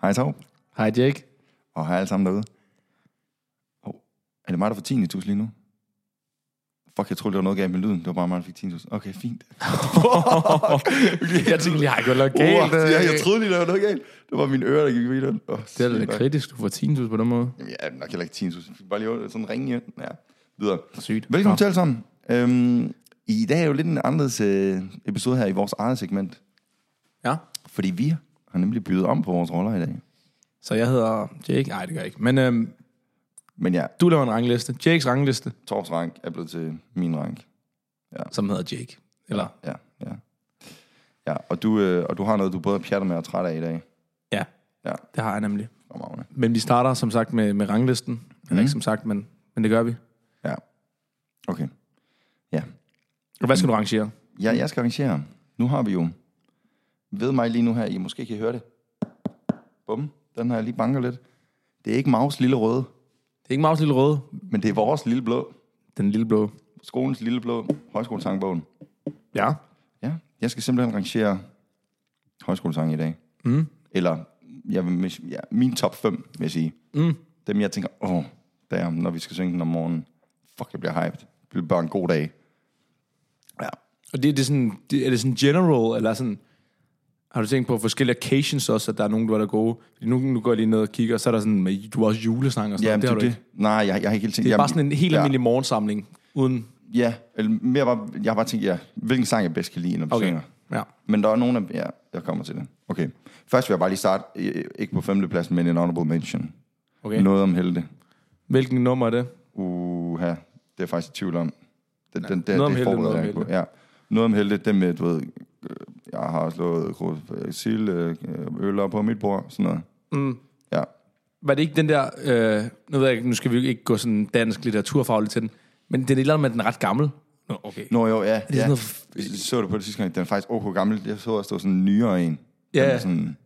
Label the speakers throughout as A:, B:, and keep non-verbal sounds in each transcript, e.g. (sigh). A: Hej Torb,
B: Hej Jake.
A: og hej alle sammen derude. Oh, er det mig, der får 10 lige nu? Fuck, jeg troede, det var noget galt med lyden. Det var bare mig, der fik 10 Okay, fint.
B: (laughs) Jeg tænkte, jeg har gjort noget
A: Galt,
B: galt. øh.
A: oh, ja, jeg troede lige, der var noget galt. Det var mine ører, der gik videre. Oh,
B: det er da lidt kritisk, du får tinnitus på den måde.
A: Jamen, jeg er nok heller ikke tinnitus. Jeg fik bare lige sådan en ring igen. Ja, videre.
B: Sygt.
A: Velkommen
B: Nå.
A: til alle sammen. Øhm, I dag er jo lidt en anderledes øh, episode her i vores eget segment.
B: Ja.
A: Fordi vi har nemlig byttet om på vores roller i dag.
B: Så jeg hedder Jake. Nej, det gør jeg ikke. Men øhm,
A: Men ja,
B: du laver en rangliste. Jakes rangliste,
A: Torbs rank er blevet til min rank.
B: som hedder Jake. Eller,
A: Ja, ja. Ja, og du, øh, og du har noget, du både er pjatter med og træt af i dag.
B: ja,
A: Ja,
B: det har jeg nemlig.
A: og Magne.
B: Men vi starter som sagt med, med ranglisten. Mm. Eller ikke som sagt, men, men det gør vi.
A: Ja. Okay. Ja.
B: Og hvad skal du rangere?
A: ja, jeg skal arrangere. Nu har vi jo ved mig lige nu her, I måske kan høre det. Bum, den her lige banker lidt. Det er ikke Maus lille røde,
B: Det er ikke Maus Lille Røde,
A: men det er vores lille blå.
B: den lille blå.
A: Skolens lille blå, højskolesangbogen.
B: Ja.
A: Ja, jeg skal simpelthen rangere højskolesang i dag.
B: Mm.
A: Eller jeg vil, mis- ja, min top 5, vil jeg sige.
B: Mm.
A: Dem, jeg tænker, åh, der, når vi skal synge den om morgenen. Fuck, jeg bliver hyped. Det bliver bare en god dag. Ja.
B: Og det, det er, sådan, det, er det sådan general, eller sådan... Har du tænkt på forskellige occasions også, at der er nogen, der er gode? Fordi nu, nu går jeg lige ned og kigger, og så er der sådan, med, du har også julesang og sådan
A: Jamen,
B: noget. Det har du ikke.
A: Nej, jeg, jeg har ikke helt tænkt.
B: Det er
A: jeg,
B: bare sådan en helt
A: ja,
B: almindelig morgensamling, uden...
A: Ja, eller mere bare, jeg har bare tænkt, ja, hvilken sang jeg bedst kan lide, når vi okay. synger.
B: Ja.
A: Men der er nogen af... Ja, jeg kommer til det. Okay. Først vil jeg bare lige starte, øh, ikke på femtepladsen, men en honorable mention.
B: Okay.
A: Noget om helte.
B: Hvilken nummer er det?
A: Uha, det er jeg faktisk i tvivl om. Den, den, den,
B: Noget om
A: det
B: helte,
A: forbereder
B: noget om
A: jeg ikke på. Ja. Noget om helte, dem med, du ved, øh, jeg har slået krus, øh, sild, øh, øller på mit bord, sådan noget.
B: Mm.
A: Ja.
B: Var det ikke den der... Øh, nu, ved jeg, ikke, nu skal vi jo ikke gå sådan dansk litteraturfagligt til den, men det er et eller andet med, at den er ret gammel. Nå, okay.
A: Nå jo, ja.
B: sådan
A: ja.
B: noget f-
A: Jeg så det på det sidste gang, den er faktisk ok gammel. Jeg så også, der var sådan en nyere en.
B: Ja.
A: Den er sådan,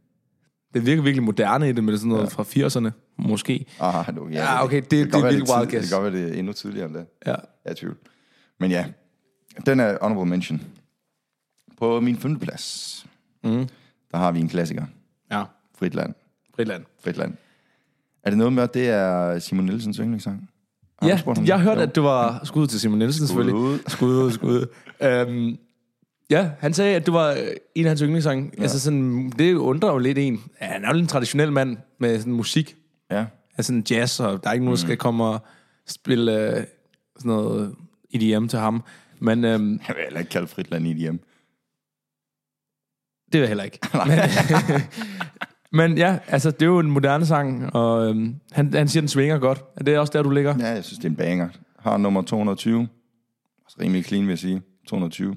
B: Den virker virkelig moderne i det, men det er sådan noget ja. fra 80'erne, måske.
A: aha, nu, Ah, ja,
B: Ja, okay, det-
A: kan
B: det er
A: godt være,
B: vildt
A: tid-
B: wild
A: Det
B: guess.
A: kan godt være, det er endnu tidligere end det.
B: Ja.
A: Jeg er i tvivl. Men ja, den er honorable mention. På min femteplads,
B: Mm.
A: der har vi en klassiker.
B: Ja,
A: Fritland.
B: Britland.
A: Fritland. Er det noget med, at det er Simon Nielsens yndlingssang? Har du
B: Ja,
A: spurgt ham
B: jeg
A: det?
B: hørte,
A: Jo.
B: at det var skud til Simon Nielsen selvfølgelig.
A: ud.
B: Skud ud, skud ud. Øhm, ja, han sagde, at det var øh, en af hans yndlingssange. Ja. Altså sådan, det undrer jo lidt en. Ja, han er jo lidt en traditionel mand med sådan musik.
A: Ja.
B: Altså sådan jazz, og der er ikke
A: Mm.
B: nogen, der skal komme og spille øh, sådan noget EDM til ham. Men øhm,
A: Jeg vil heller ikke kalde Fritland i et hjem.
B: det vil jeg heller
A: (laughs)
B: ikke. Men, (laughs) men ja, altså det er jo en moderne sang, og øhm, han, han siger, den svinger godt. Er det også der, du ligger?
A: Ja, jeg synes, det er en banger. Har nummer 220. Også rimelig clean, vil jeg sige. 220.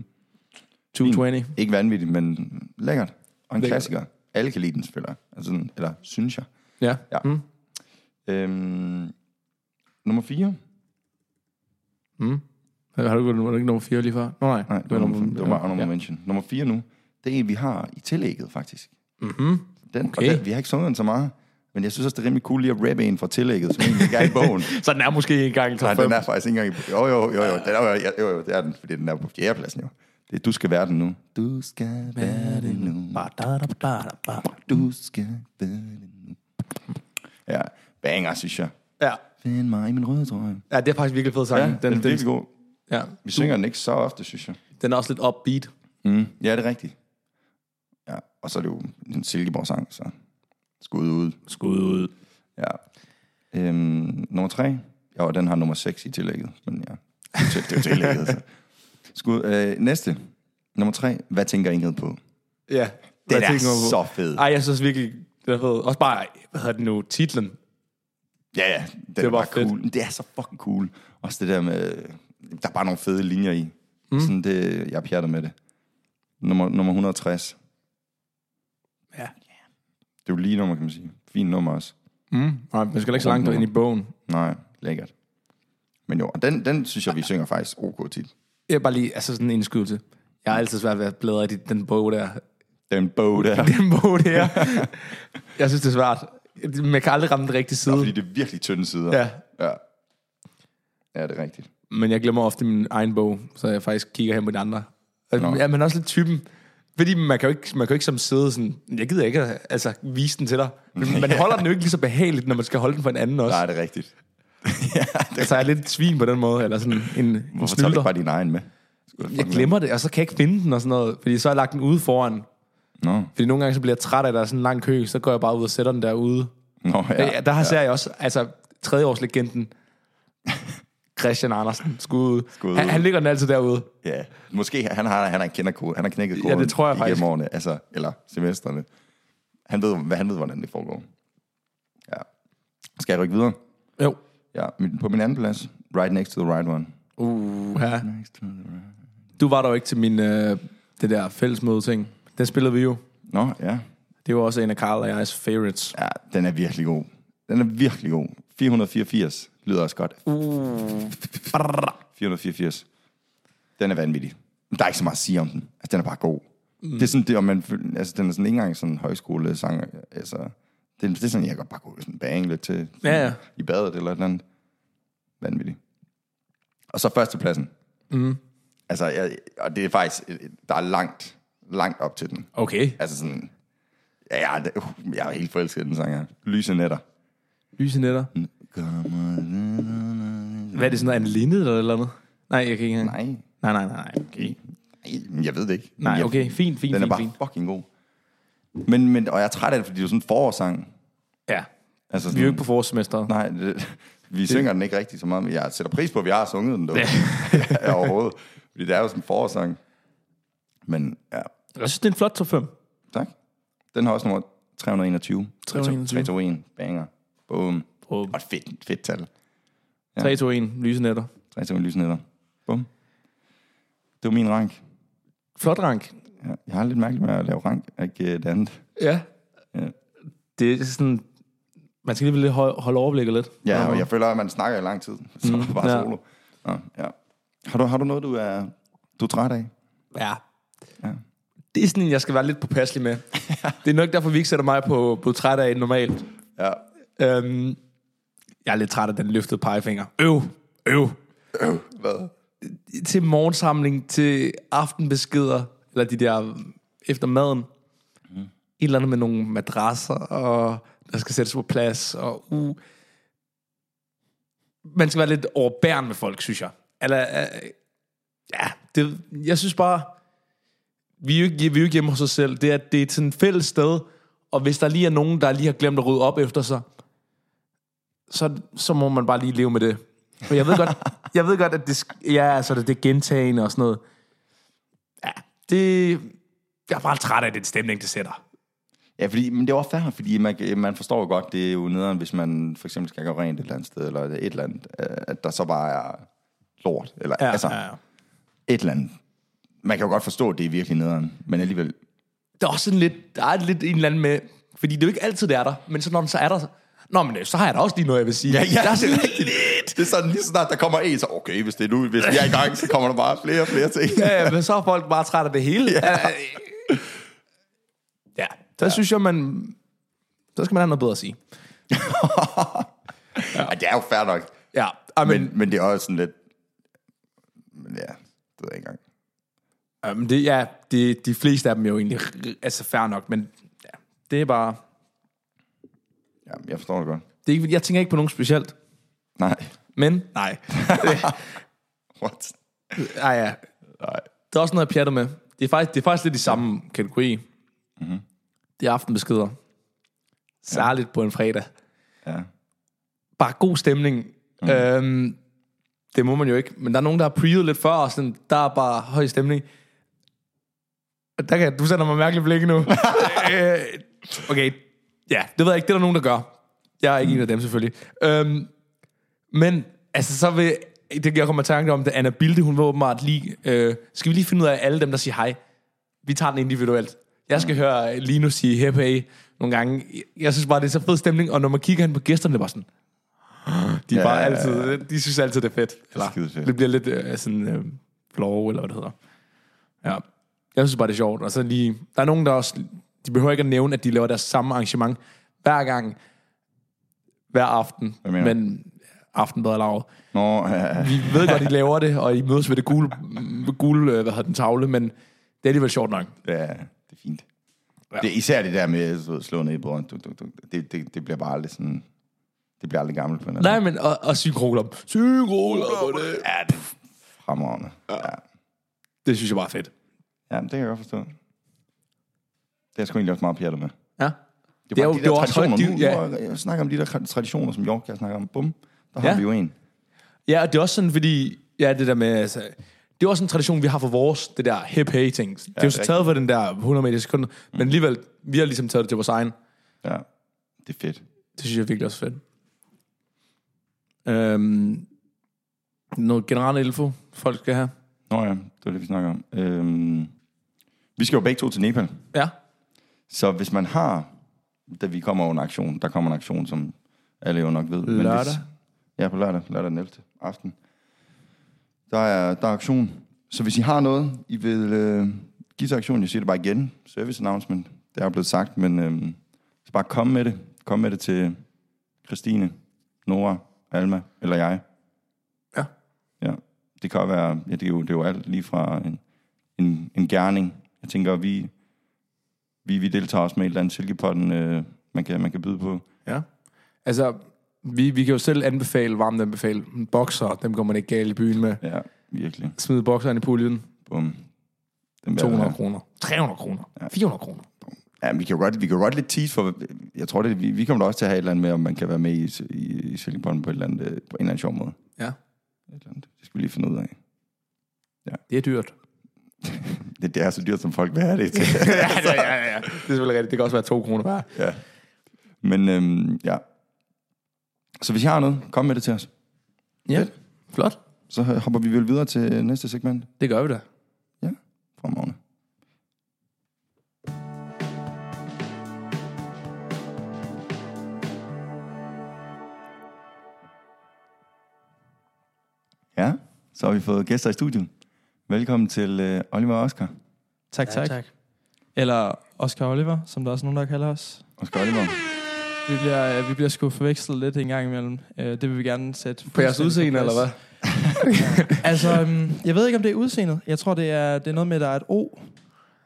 B: 220.
A: Ikke vanvittigt, men lækkert. Og en
B: Lækkert.
A: klassiker. Alle kan lide den, selvfølgelig. Altså, sådan- eller synes jeg.
B: Ja.
A: Ja.
B: Mm.
A: Øhm, nummer 4.
B: Mm. Har du, var du ikke nummer 4 lige før? Nå, nej.
A: Nej, det var, nummer, det var bare honorable mention. Nummer 4 nu. Det er en, vi har i tillægget, faktisk.
B: Mm-hmm.
A: Den, okay.
B: Okay.
A: og den, vi har ikke sunget den så meget. Men jeg synes også, det er rimelig cool lige at rappe en fra tillægget, som egentlig ikke er i bogen.
B: (laughs) Så den er måske en gang i top
A: (laughs) Nej,
B: fem.
A: den er faktisk ikke engang i... Jo, jo, jo, jo, den er, jo, jo, jo, det er den, fordi den er på fjerdepladsen jo. Det er, du skal være den nu. Du skal være den nu. Du skal være den nu. Ja, banger, synes jeg.
B: Ja.
A: Find mig i min røde trøje.
B: ja, det er faktisk virkelig fed sang.
A: Ja, den, den er virkelig god.
B: ja.
A: Vi synger den ikke så ofte, synes jeg.
B: den er også lidt upbeat.
A: Mm. Ja, det er rigtigt. Ja, og så er det jo en Silkeborg-sang, så skud ud.
B: Skud ud.
A: Ja. Øhm, nummer tre. Ja, og den har nummer 6 i tillægget. Men ja, det er jo til- det er jo tillægget. Så. Skud, øh, næste. Nummer tre. Hvad tænker Ingrid på?
B: Ja.
A: Den
B: Hvad
A: er
B: tænker du på?
A: så fed.
B: Ej, jeg synes virkelig, den er fed. Også bare, hvad hedder den nu, titlen.
A: Ja, ja. Den det er
B: var
A: bare
B: fedt.
A: cool. Men Det er så fucking cool. Også det der med... Der er bare nogle fede linjer i. Mm. Sådan det, jeg pjatter med det. Nummer, nummer 160.
B: Ja.
A: Det er jo lige nummer, kan man sige. Fint nummer også.
B: Mm. Nej, man skal ikke så langt ind i bogen.
A: Nej, lækkert. Men jo, og den, den synes jeg, vi synger faktisk ok tit.
B: Jeg er bare lige, altså sådan en indskydelse. Jeg har altid svært ved at bladre i dit- den bog der.
A: Den bog der.
B: (laughs) Den bog der. jeg synes, det er svært. Man kan aldrig ramme den rigtige side.
A: Fordi det er virkelig tynde sider.
B: Ja,
A: Ja. Ja, det er rigtigt.
B: men jeg glemmer ofte min egen bog, så jeg faktisk kigger hen på de andre. Og-
A: Nå.
B: Ja, men også lidt typen. Fordi man kan jo ikke, man kan jo ikke som sidde sådan, jeg gider ikke at- altså, vise den til dig.
A: (laughs)
B: Men man holder den jo ikke lige så behageligt, når man skal holde den for en anden også.
A: Nej,
B: Nej.
A: det er rigtigt. ja,
B: (laughs)
A: det,
B: Så jeg er lidt et svin på den måde, eller sådan en, en
A: hvorfor tager du
B: snylder.
A: ikke bare din egen med?
B: Jeg glemmer det, og så kan jeg ikke finde den og sådan noget. Fordi så har jeg lagt den ude foran.
A: Nå,
B: Fordi nogle gange så bliver jeg træt af, at der er sådan en lang kø, så går jeg bare ud og sætter den derude.
A: Nå ja.
B: Ja, der har ser jeg også, altså
A: (laughs)
B: tredjeårslegenden, Christian Andersen, skud.
A: ud.
B: ud. Han, han ligger den altid derude.
A: Ja, måske han har, han har, kender kode, han har knækket koden
B: det tror jeg
A: igennem
B: faktisk.
A: årene, altså, eller semesterne. Han ved, hvad- han ved, hvordan det foregår. Ja. Skal jeg rykke videre?
B: Jo.
A: Ja, min- på min anden plads, right next to the right one.
B: Uh, ja.
A: Next to the right.
B: Du var der jo ikke til min, øh, det der fællesmøde-ting. Den spillede vi jo.
A: Nå, ja.
B: Det var også en af Karl og jegs favorites.
A: Ja, den er virkelig god. Den er virkelig god. 484 lyder også godt.
B: Uh. Brrr.
A: 484. Den er vanvittig. Men Der er ikke så meget at sige om den. Altså, den er bare god. Mm. Det er sådan, det, og man, føl- altså, den er sådan ikke engang sådan en højskolesang. Altså, det, det er sådan, jeg kan bare gå sådan bang lidt til. Sådan,
B: Ja, ja.
A: I badet eller et eller andet. Vanvittig. Og så førstepladsen. Mm. Altså, jeg, og det er faktisk, der er langt, langt op til den.
B: Okay.
A: Altså sådan, ja, jeg, er- uh, jeg er helt forelsket i den sang her. Lyse nætter.
B: Lyse netter. Hvad er det sådan noget? Er det lindet eller et eller andet? Nej, jeg kan ikke engang.
A: Nej,
B: Nej, nej, nej. nej. Okay.
A: nej, jeg ved det ikke. Men
B: Nej,
A: jeg-
B: okay. Fint, fint,
A: Den er
B: fint,
A: bare
B: fint.
A: fucking god. Men, men, og jeg er træt af det, fordi det er jo sådan en forårssang.
B: Ja.
A: Altså
B: Vi
A: sådan,
B: er jo ikke på forårssemesteret.
A: Nej, det, vi synger den ikke rigtig så meget, men jeg sætter pris på, at vi har sunget den dog. Ja. (laughs) overhovedet. Fordi det er jo sådan en forårssang. Men ja,
B: Jeg synes, det er en flot top 5.
A: tak. Den har også nummer 321.
B: 321.
A: 321. Banger. Boom.
B: Bum.
A: Og et fedt, fedt tal.
B: 3, 2, 1. Lyse netter.
A: 321 lysnætter. Bum. Det var min rank.
B: Flot rank.
A: Ja, Jeg har lidt mærkeligt med at lave rank, ikke øh, det andet.
B: Ja.
A: Ja.
B: Det er sådan... Man skal lige lidt hol- holde overblikket lidt.
A: Ja, og jeg føler, at man snakker i lang tid, (laughs) så mm, bare
B: ja.
A: solo. Nå, ja. Har, du, har du noget, du er, du er træt af?
B: Ja. ja. Det er sådan en, jeg skal være lidt påpasselig med. det er nok derfor, vi ikke sætter mig på, på træt af normalt.
A: Ja.
B: Øhm, jeg er lidt træt af den løftede pegefinger. Øv, øv.
A: Hvad?
B: Til morgensamling, til aftenbeskeder, eller de der efter maden. Mm. Et eller andet med nogle madrasser, og der skal sættes på plads, og uh. Man skal være lidt overbærende med folk, synes jeg. Eller, øh, ja, det, jeg synes bare, vi er, jo ikke, vi er jo ikke hjemme hos os selv. Det er, det er sådan et fælles sted, og hvis der lige er nogen, der lige har glemt at rydde op efter sig, så, så må man bare lige leve med det. Og jeg ved
A: (laughs)
B: godt, jeg ved godt at det, sk- ja, altså det, det er gentagende og sådan noget. Ja, det... Jeg er bare træt af den stemning, det sætter.
A: Ja, fordi, men det er også fair, fordi man, kan- man forstår jo godt, det er jo nederen, hvis man for eksempel skal gøre rent et eller andet sted, eller et eller andet, øh, at der så bare er lort, eller ja, altså ja.
B: ja.
A: et eller andet. Man kan jo godt forstå, at det er virkelig nederen, men alligevel,
B: Der er også sådan lidt, der er lidt en eller anden med... Fordi det er jo ikke altid, det er der, men så når den så er der... så- Nå, men øh, så har jeg da også lige noget, jeg vil sige.
A: Ja, ja,
B: (laughs) der er sådan
A: det er
B: lidt...
A: det er sådan lige så snart, der kommer en, så okay, hvis det er nu, hvis vi er i gang, så kommer der bare flere og flere ting.
B: Ja, ja, men så er folk bare træt af det hele. Ja, ja der ja. synes jeg, man... Så skal man have noget bedre at sige.
A: (laughs) ja. Og det er jo fair nok.
B: Ja, men, men
A: Men, men det er også sådan lidt... Men ja, det ved jeg ikke engang.
B: Jamen det, ja, det, de fleste af dem er jo egentlig r- altså fair nok, men ja, det er bare...
A: Ja, jeg forstår det godt.
B: Det er ikke, jeg tænker ikke på nogen specielt,
A: Nej. (laughs)
B: men... Nej.
A: What?
B: Ej, ja.
A: Nej.
B: Der er også noget, jeg pjatter med. Det er faktisk, det er faktisk lidt i samme kategori. Mm-hmm. Det er aftenbeskeder. Særligt på en fredag.
A: Ja.
B: Bare god stemning. Mm. Øhm, det må man jo ikke, men der er nogen, der har preet lidt før, og sådan, der er bare høj stemning. Og Der kan, du sender mig mærkeligt blik nu. øh, okay, ja, det ved jeg ikke, det er der nogen, der gør. Jeg er ikke mm. en af dem selvfølgelig. Øhm, men, altså så vil, det jeg kommer i tanke om, det er Anna Bilde, hun var åbenbart lige, øh, skal vi lige finde ud af alle dem, der siger hej. Vi tager den individuelt. Jeg skal mm. høre Lino sige hep hey nogle gange. Jeg synes bare, det er så fed stemning, og når man kigger hen på gæsterne, det er bare sådan, (gasps) de er
A: Ja,
B: ja, bare
A: ja, ja.
B: altid, de synes altid, det er fedt. Eller,
A: skide fedt.
B: Det bliver lidt øh, sådan øh, flove, eller hvad det hedder. Ja. Jeg synes bare, det er sjovt. Og så lige, der er nogen, der også... De behøver ikke at nævne, at de laver deres samme arrangement hver gang, hver aften.
A: Hvad mener du?
B: Men aftenbad lavet.
A: Nå, ja.
B: Vi ved godt, de laver det, og I mødes ved det gule, gule øh, hvad hedder den, tavle, men Det er alligevel sjovt nok.
A: Ja, det er fint. Ja. Det er især det der med at slå ned i bordet. Du, du, du. Det, det, det bliver bare aldrig sådan... Det bliver aldrig gammelt på en eller anden
B: Nej, men og, og synkroklop. Synkroklop, det.
A: måde. Ja, det er fremragende. Ja. ja.
B: det synes jeg bare er fedt.
A: Jamen, det kan jeg godt forstå. Det er jeg sgu egentlig også meget pjattet med.
B: Ja.
A: Det
B: Det er
A: er, bare
B: jo-
A: de
B: det er
A: der
B: også højt
A: traditioner.
B: div-
A: nu,
B: ja.
A: hvor jeg- jeg snakker om de der tra- traditioner, som York jeg snakker om. Bum, der har
B: Ja.
A: vi jo en.
B: Ja, og det er også sådan, fordi... Ja, det der med... Altså, det er også en tradition, vi har for vores, det der hip hey ting. Det er Mm. jo så
A: rigtigt.
B: taget for den der 100 meter sekund, men alligevel, vi har ligesom taget det til vores egen.
A: Ja, det er fedt.
B: Det synes jeg virkelig også er fedt. Øhm, noget generelt info, folk skal have.
A: Nå ja, det var det, vi snakker om. Øhm, vi skal jo begge to til Nepal.
B: Ja.
A: Så hvis man har... Da vi kommer over en aktion, der kommer en aktion, som alle jo nok ved. men hvis-
B: Lørdag.
A: Ja, på lørdag. Lørdag den 11. aften. Der er, der er aktion. Så hvis I har noget, I vil øh, give til aktion, jeg siger det bare igen, service announcement, det er jo blevet sagt, men øh, så bare kom med det. Kom med det til Christine, Nora, Alma eller jeg.
B: Ja.
A: Ja, det kan også være, ja, det, er jo, det er jo alt lige fra en, en, en gerning. Jeg tænker, vi, vi, vi deltager også med et eller andet silkepotten, øh, man, kan, man kan byde på.
B: Ja. Altså, vi, vi kan jo selv anbefale, varmt anbefale, bokser, dem går man ikke galt i byen med.
A: Ja, virkelig.
B: Smid bokseren i puljen,
A: Bum. Den
B: 200
A: ja.
B: kroner, 300 kroner, 400 kroner.
A: Ja, men vi kan jo godt, vi kan jo godt lidt tease for, jeg tror, det, vi, vi kommer da også til at have et eller andet med, om man kan være med i, i, i Silkeborg på, et eller andet, øh, på en eller anden sjov måde.
B: Ja.
A: Et eller andet. Det skal vi lige finde ud af. (laughs)
B: Det er dyrt.
A: Det, det er så dyrt, som folk vil have det til.
B: (laughs) ja, ja, ja. Det er selvfølgelig rigtigt. Det kan også være 2 kroner hver.
A: ja. Men øhm, ja. Så hvis I har noget, kom med det til os.
B: Ja, flot.
A: Så hopper vi vel videre til næste segment.
B: Det gør vi da.
A: Ja, fremragende. Ja, så har vi fået gæster i studiet. Velkommen til øh, Oliver og Oscar.
C: Tak, tak. tak. Eller Oscar Oliver, som der også er nogen, der kalder os.
A: Oscar og Oliver.
C: Vi bliver, øh, vi bliver sgu forvekslet lidt en gang imellem. Øh, Det vil vi gerne sætte
B: På jeres
C: fuldstændig
B: udseende,
C: plads.
B: eller hvad?
C: Altså, øhm, jeg ved ikke, om det er udseendet. Jeg tror, det er, det er noget med, at der er et O.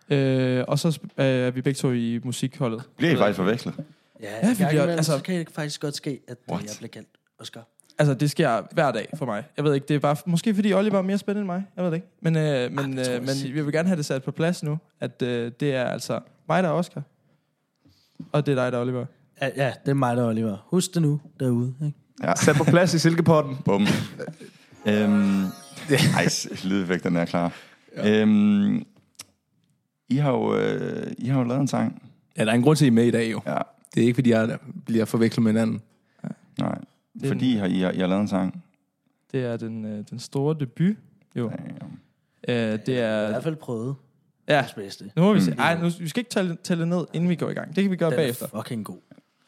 C: Øh, og så sp- øh, er vi begge to i musikholdet.
A: Bliver I faktisk forvekslet?
C: Ja,
D: Ja,
C: vi
D: ja
C: bliver-
D: vi bliver, altså,
C: altså-
D: så kan det faktisk godt ske, at What?
A: What?
D: jeg bliver kaldt Oscar.
C: Altså, det sker hver dag for mig. Jeg ved ikke, det er bare... Måske fordi Oliver er mere spændende end mig. Jeg ved det ikke. Men, øh, men,
D: det tror
C: øh,
D: jeg
C: men
D: simpelthen.
C: vi vil gerne have det sat på plads nu, at øh, det er altså mig, der er Oscar. Og det er dig, der er Oliver.
D: Ja, ja, det er mig, der er Oliver. Husk det nu derude. Ikke?
B: Sat på plads i silkepotten.
A: Bum. øhm, ej, s- lydeffekterne er klar. Ja. Øhm, I, har jo, øh, I har jo lavet en sang.
B: Ja, der er en grund til, at I er med i dag jo.
A: Ja,
B: Det er ikke, fordi jeg bliver forvekslet med hinanden.
A: nej.
C: er
A: Fordi I har, I, har, I har lavet en sang.
C: Det er den, øh, den store debut. Jo.
A: Ja.
C: Øh, det
D: I
C: er...
D: hvert fald prøvet.
C: Ja,
D: Ja. Bedste.
C: nu må vi se. Ej, nu, vi skal ikke tælle, tælle ned, inden vi går i gang. Det kan vi gøre
D: Den er
C: bagefter.
D: fucking god.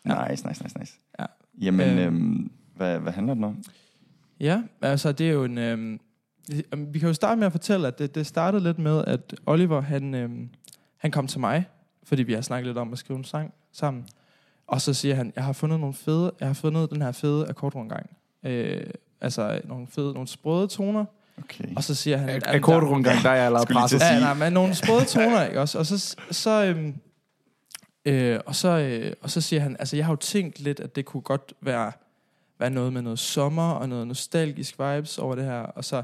A: Nice, nice, nice, nice.
C: Ja.
A: Jamen,
C: Øhm.
A: øhm, hvad, hvad handler den om?
C: Ja, altså det er jo en... Øhm, øhm, vi kan jo starte med at fortælle, at det, det startede lidt med, at Oliver, han, øhm, han kom til mig, fordi vi har snakket lidt om at skrive en sang sammen. Og så siger han, jeg har fundet nogle fede, jeg har fundet den her fede akkordrundgang. Øh, altså nogle fede, nogle sprøde toner.
A: Okay.
C: Og så siger han... "Jamen, der-
B: Akkordrundgang, der er jeg allerede
A: Skulle lige til
B: presset.
A: at sige.
C: Ja, nej, men nogle sprøde toner, ikke også? Og så, så, øhm, øh, og, så, øh, og så siger han, altså jeg har jo tænkt lidt, at det kunne godt være, være noget med noget sommer og noget nostalgisk vibes over det her. Og så,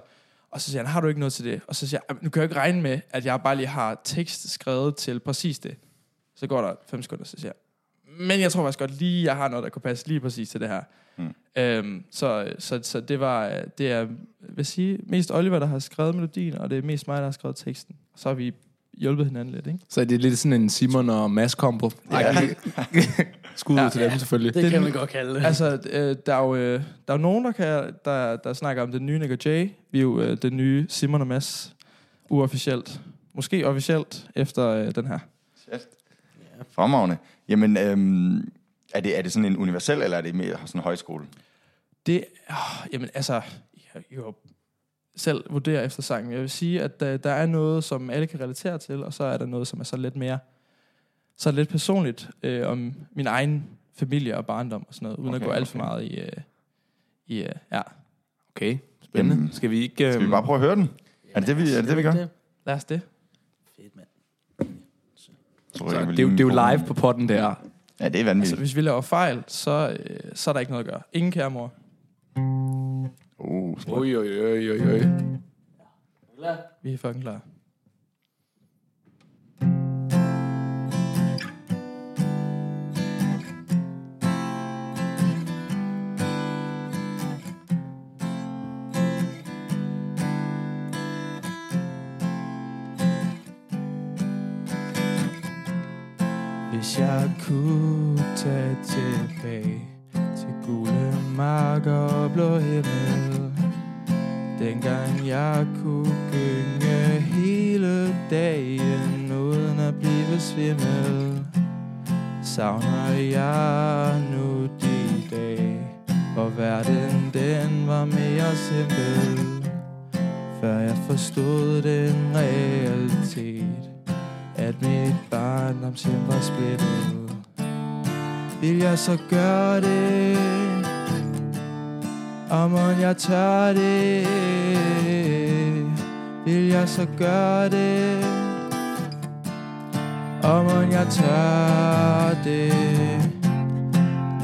C: og så siger han, har du ikke noget til det? Og så siger jeg, "Jamen, nu kan jeg jo ikke regne med, at jeg bare lige har tekst skrevet til præcis det. Så går der fem sekunder, så siger jeg, men jeg tror faktisk godt lige, jeg har noget, der kunne passe lige præcis til det her.
A: Mm.
C: Øhm, så, så, så det var, øh, det er, vil jeg sige, mest Oliver, der har skrevet melodien, og det er mest mig, der har skrevet teksten. Så har vi hjulpet hinanden lidt, ikke?
B: Så det er lidt sådan en Simon og Mads kombo. Ja. Skud ud
C: Ja.
B: til dem selvfølgelig.
D: Det,
C: den-
D: det kan man godt kalde det.
C: Altså, øh, der, er jo, øh, der er jo nogen, der, kan, der, der snakker om den nye Nick og Jay. Vi er jo øh, den nye Simon og Mads, uofficielt. Måske officielt efter øh, den her.
A: Fremragende. Jamen, øhm, er, det, er det sådan en universel, eller er det mere sådan en højskole?
C: Det, øh, jamen altså, jeg jo selv vurdere efter sangen. Jeg vil sige, at øh, der, der er noget, som alle kan relatere til, og så er der noget, som er så lidt mere, så lidt personligt øh, om min egen familie og barndom og sådan noget, uden okay, at
A: Okay,
C: gå alt for
A: okay.
C: meget i, øh, i øh, ja.
B: Okay,
A: Jamen,
B: spændende. Mm. Skal vi ikke... øhm,
A: Skal vi bare prøve at høre den? Er det det, vi, er det, det, vi gør?
C: Lad os det.
D: Fedt, mand.
A: Tror
B: Så
A: jeg, jeg vil
B: det, er jo- det er jo
A: lige-
B: live på potten der.
A: Ja, det er
C: Altså,
A: vanvittigt.
C: hvis vi laver fejl, så, øh, så er der ikke noget at gøre. Ingen kære mor.
A: Uh, sådan
B: Oj, oj, oj, oj, oj.
C: Vi er fucking klar. Hvis jeg kunne tage tilbage til gule marker og blå himmel Dengang jeg kunne gynge hele dagen uden at blive svimmel Savner jeg nu de dage, hvor verden den var mere simpel Før jeg forstod den realitet, at mit barndomshjem var splittet Vil jeg så gøre det, og mon jeg tør det Vil jeg så gøre det Og mon jeg tør det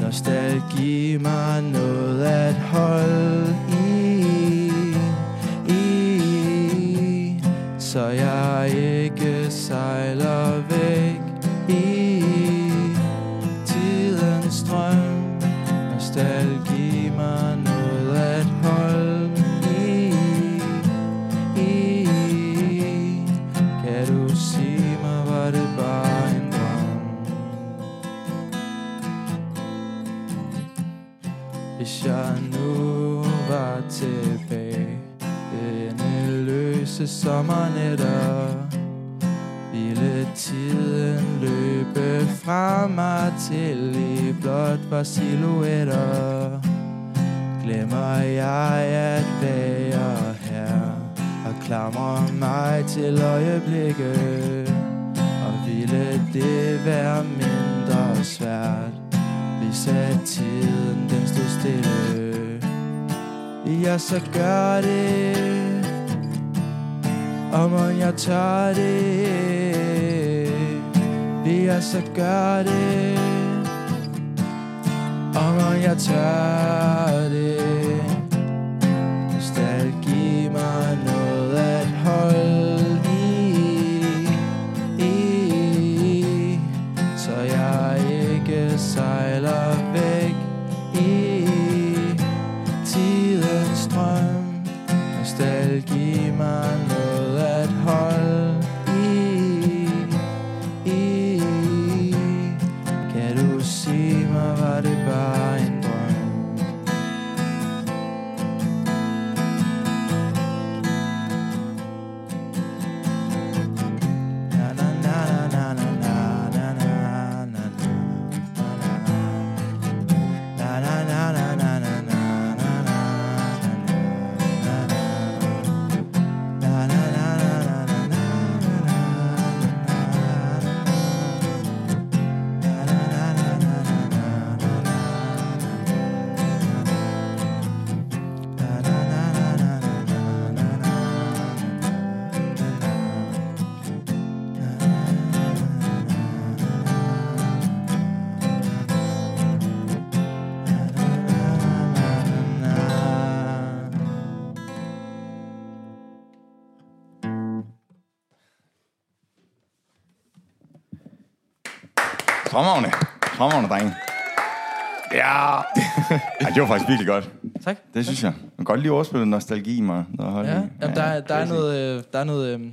C: Nostalgi mig noget at holde i, i Så jeg ikke sejler væk i tidens strøm Nostalgi mig noget at holde i, i. Kan du sige mig, var det bare en drøm? Hvis jeg nu var tilbage Denne løse sommernetter Ville tiden løbe fra mig til I blot var silhuetter Glemmer jeg at være her Og klamrer mig til øjeblikket Og ville det være mindre svært hvis at tiden den stod stille Vil jeg så gøre det Og må jeg tør det Vil jeg så gøre det Og må jeg tør det Nostalgi mig noget at holde i, i så jeg ikke sejler væk i tidens strøm. Nostalgi mig noget at holde i, i. Kan du sige mig, var det bare en drøm? Na na na na na na na na na na na na na na na na na na na na
A: Fremragende. Fremragende, drenge. Ja. Ej, det var faktisk virkelig godt.
C: Tak.
A: Det synes jeg. Man kan godt lige overspille nostalgi, mig.
C: Ja, jamen, der, er, der, er noget, øh, der er noget, øh,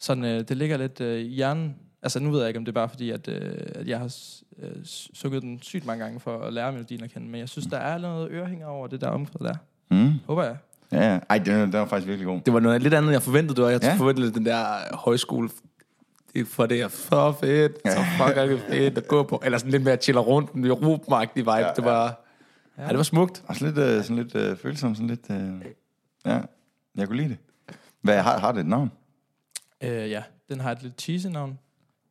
C: sådan, øh, det ligger lidt øh, i hjernen. Altså, nu ved jeg ikke, om det er bare fordi, at, øh, at jeg har s- øh, s- sukket den sygt mange gange for at lære melodien at kende, men jeg synes, der er noget ørehænger over det der omkring der.
A: Mm.
C: Håber jeg.
A: Ja, ja. Ej, den, den var faktisk virkelig god.
B: Det var noget lidt andet, end jeg forventede. Det var, jeg
A: Ja.
B: ja. forventede den der højskole. Det er for det er så fedt. Så fuck er det fedt at gå på. Eller sådan lidt mere chiller rundt. En europamagtig vibe. Ja, det var... Ja. det var smukt.
A: Også lidt, øh, sådan lidt øh, følsom, sådan lidt... Øh, ja, jeg kunne lide det. Hvad har, har det et navn?
C: Øh, ja, den har et lidt cheesy navn.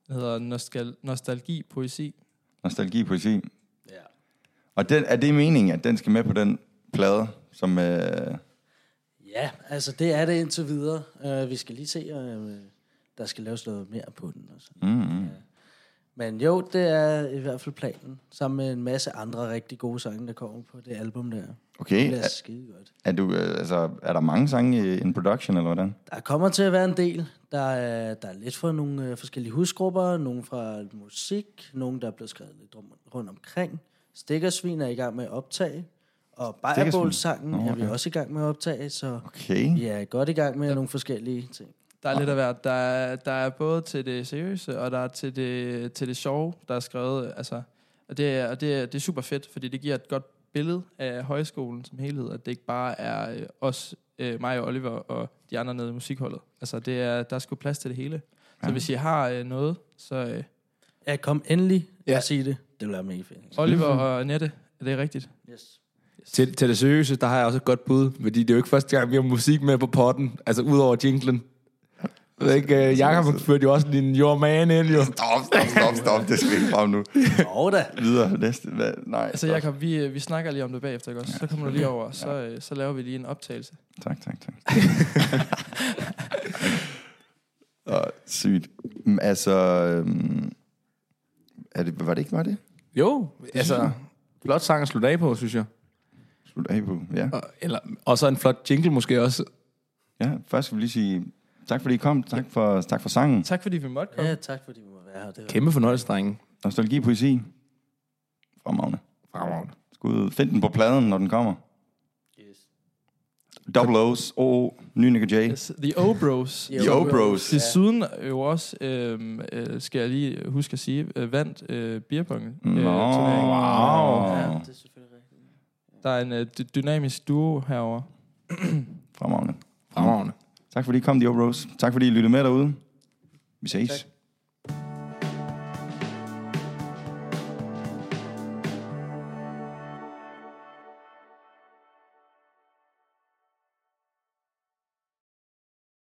C: Den hedder Nostal- Nostalgi Poesi.
A: Nostalgi poesi.
D: Ja.
A: Og den, er det meningen, at den skal med på den plade, som... Øh,
D: Øh, Ja, altså det er det indtil videre. Uh, vi skal lige se, uh, der skal laves noget mere på den. Og sådan.
A: Mm-hmm.
D: Men jo, det er i hvert fald planen. Sammen med en masse andre rigtig gode sange, der kommer på det album der. Det
A: Okay,
D: bliver
A: er,
D: skide godt.
A: er, du, øh, altså, er der mange sange i in production, eller hvordan?
D: Der kommer til at være en del. Der er, der er lidt fra nogle øh, forskellige husgrupper, nogle fra musik, nogle, der er blevet skrevet lidt rum, rundt omkring. Stikkersvin er i gang med at optage, og Bajerbål-sangen
A: Nå,
D: er vi
A: okay. Mm.
D: også i gang med at optage, så
A: Okay.
D: vi er godt i gang med nogle forskellige ting.
C: Der er lidt af hvert. Der er, der er både til det seriøse, og der er til det, til det sjove, der er skrevet. Altså, og det er, og det, er, det er super fedt, fordi det giver et godt billede af højskolen som helhed, at det ikke bare er øh, os, øh, mig og Oliver og de andre nede i musikholdet. Altså, det er, der er sgu plads til det hele. Så
A: Ja.
C: hvis I har øh, noget, så øh,
D: Ja, kom endelig
B: Ja.
D: ja. og sig det. Det vil være mega fedt.
C: Oliver og Nette, er det rigtigt?
D: Yes.
B: Til, til det seriøse, der har jeg også et godt bud, fordi det er jo ikke første gang, vi har musik med på potten, altså ud over jinglen. Jeg ved ikke, øh, Jacob førte jo også lige en your man ind, jo.
A: Stop, stop, stop, stop. Det skal vi ikke frem nu.
D: Nå da.
A: Videre. Næste. Hvad? Nej.
C: Altså,
A: stop.
C: Jacob, vi, øh, vi snakker lige om det bagefter, ikke også? Så kommer du lige over, så, øh, så laver vi lige en optagelse.
A: Tak, tak, tak. (laughs) Åh, sygt. Mm, Altså, øhm, er det, var det ikke, var det?
B: Jo, altså, flot sang at slutte af på, synes jeg.
A: Slut af på, ja.
B: Og, eller, og så en flot jingle måske også.
A: Ja, først skal vi lige sige tak, fordi I kom. Tak for, tak for sangen.
C: Tak fordi vi måtte komme.
D: Ja, tak fordi vi må være her. Det var
B: Kæmpe fornøjelse, drenge.
A: Nostalgi poesi. Fremragende.
B: Fremragende.
A: Skud. Find den på pladen, når den kommer.
D: Yes.
A: Double O's, O, Ny Nick og Jay.
C: Yes, The O-Bros.
D: Jo.
A: The O-Bros.
C: Desuden øh, jo også, øhm, øh, skal jeg lige huske at sige, øh, vandt øh, beerpong. Øh,
A: Nå,
C: turneringen.
A: wow.
D: Ja, det er selvfølgelig rigtigt.
C: Der er en øh, dy- dynamisk duo herover.
A: Fremragende.
B: Fremragende.
A: Tak fordi I kom, The O-Bros. Tak fordi I lyttede med derude. Vi ses.
D: tak.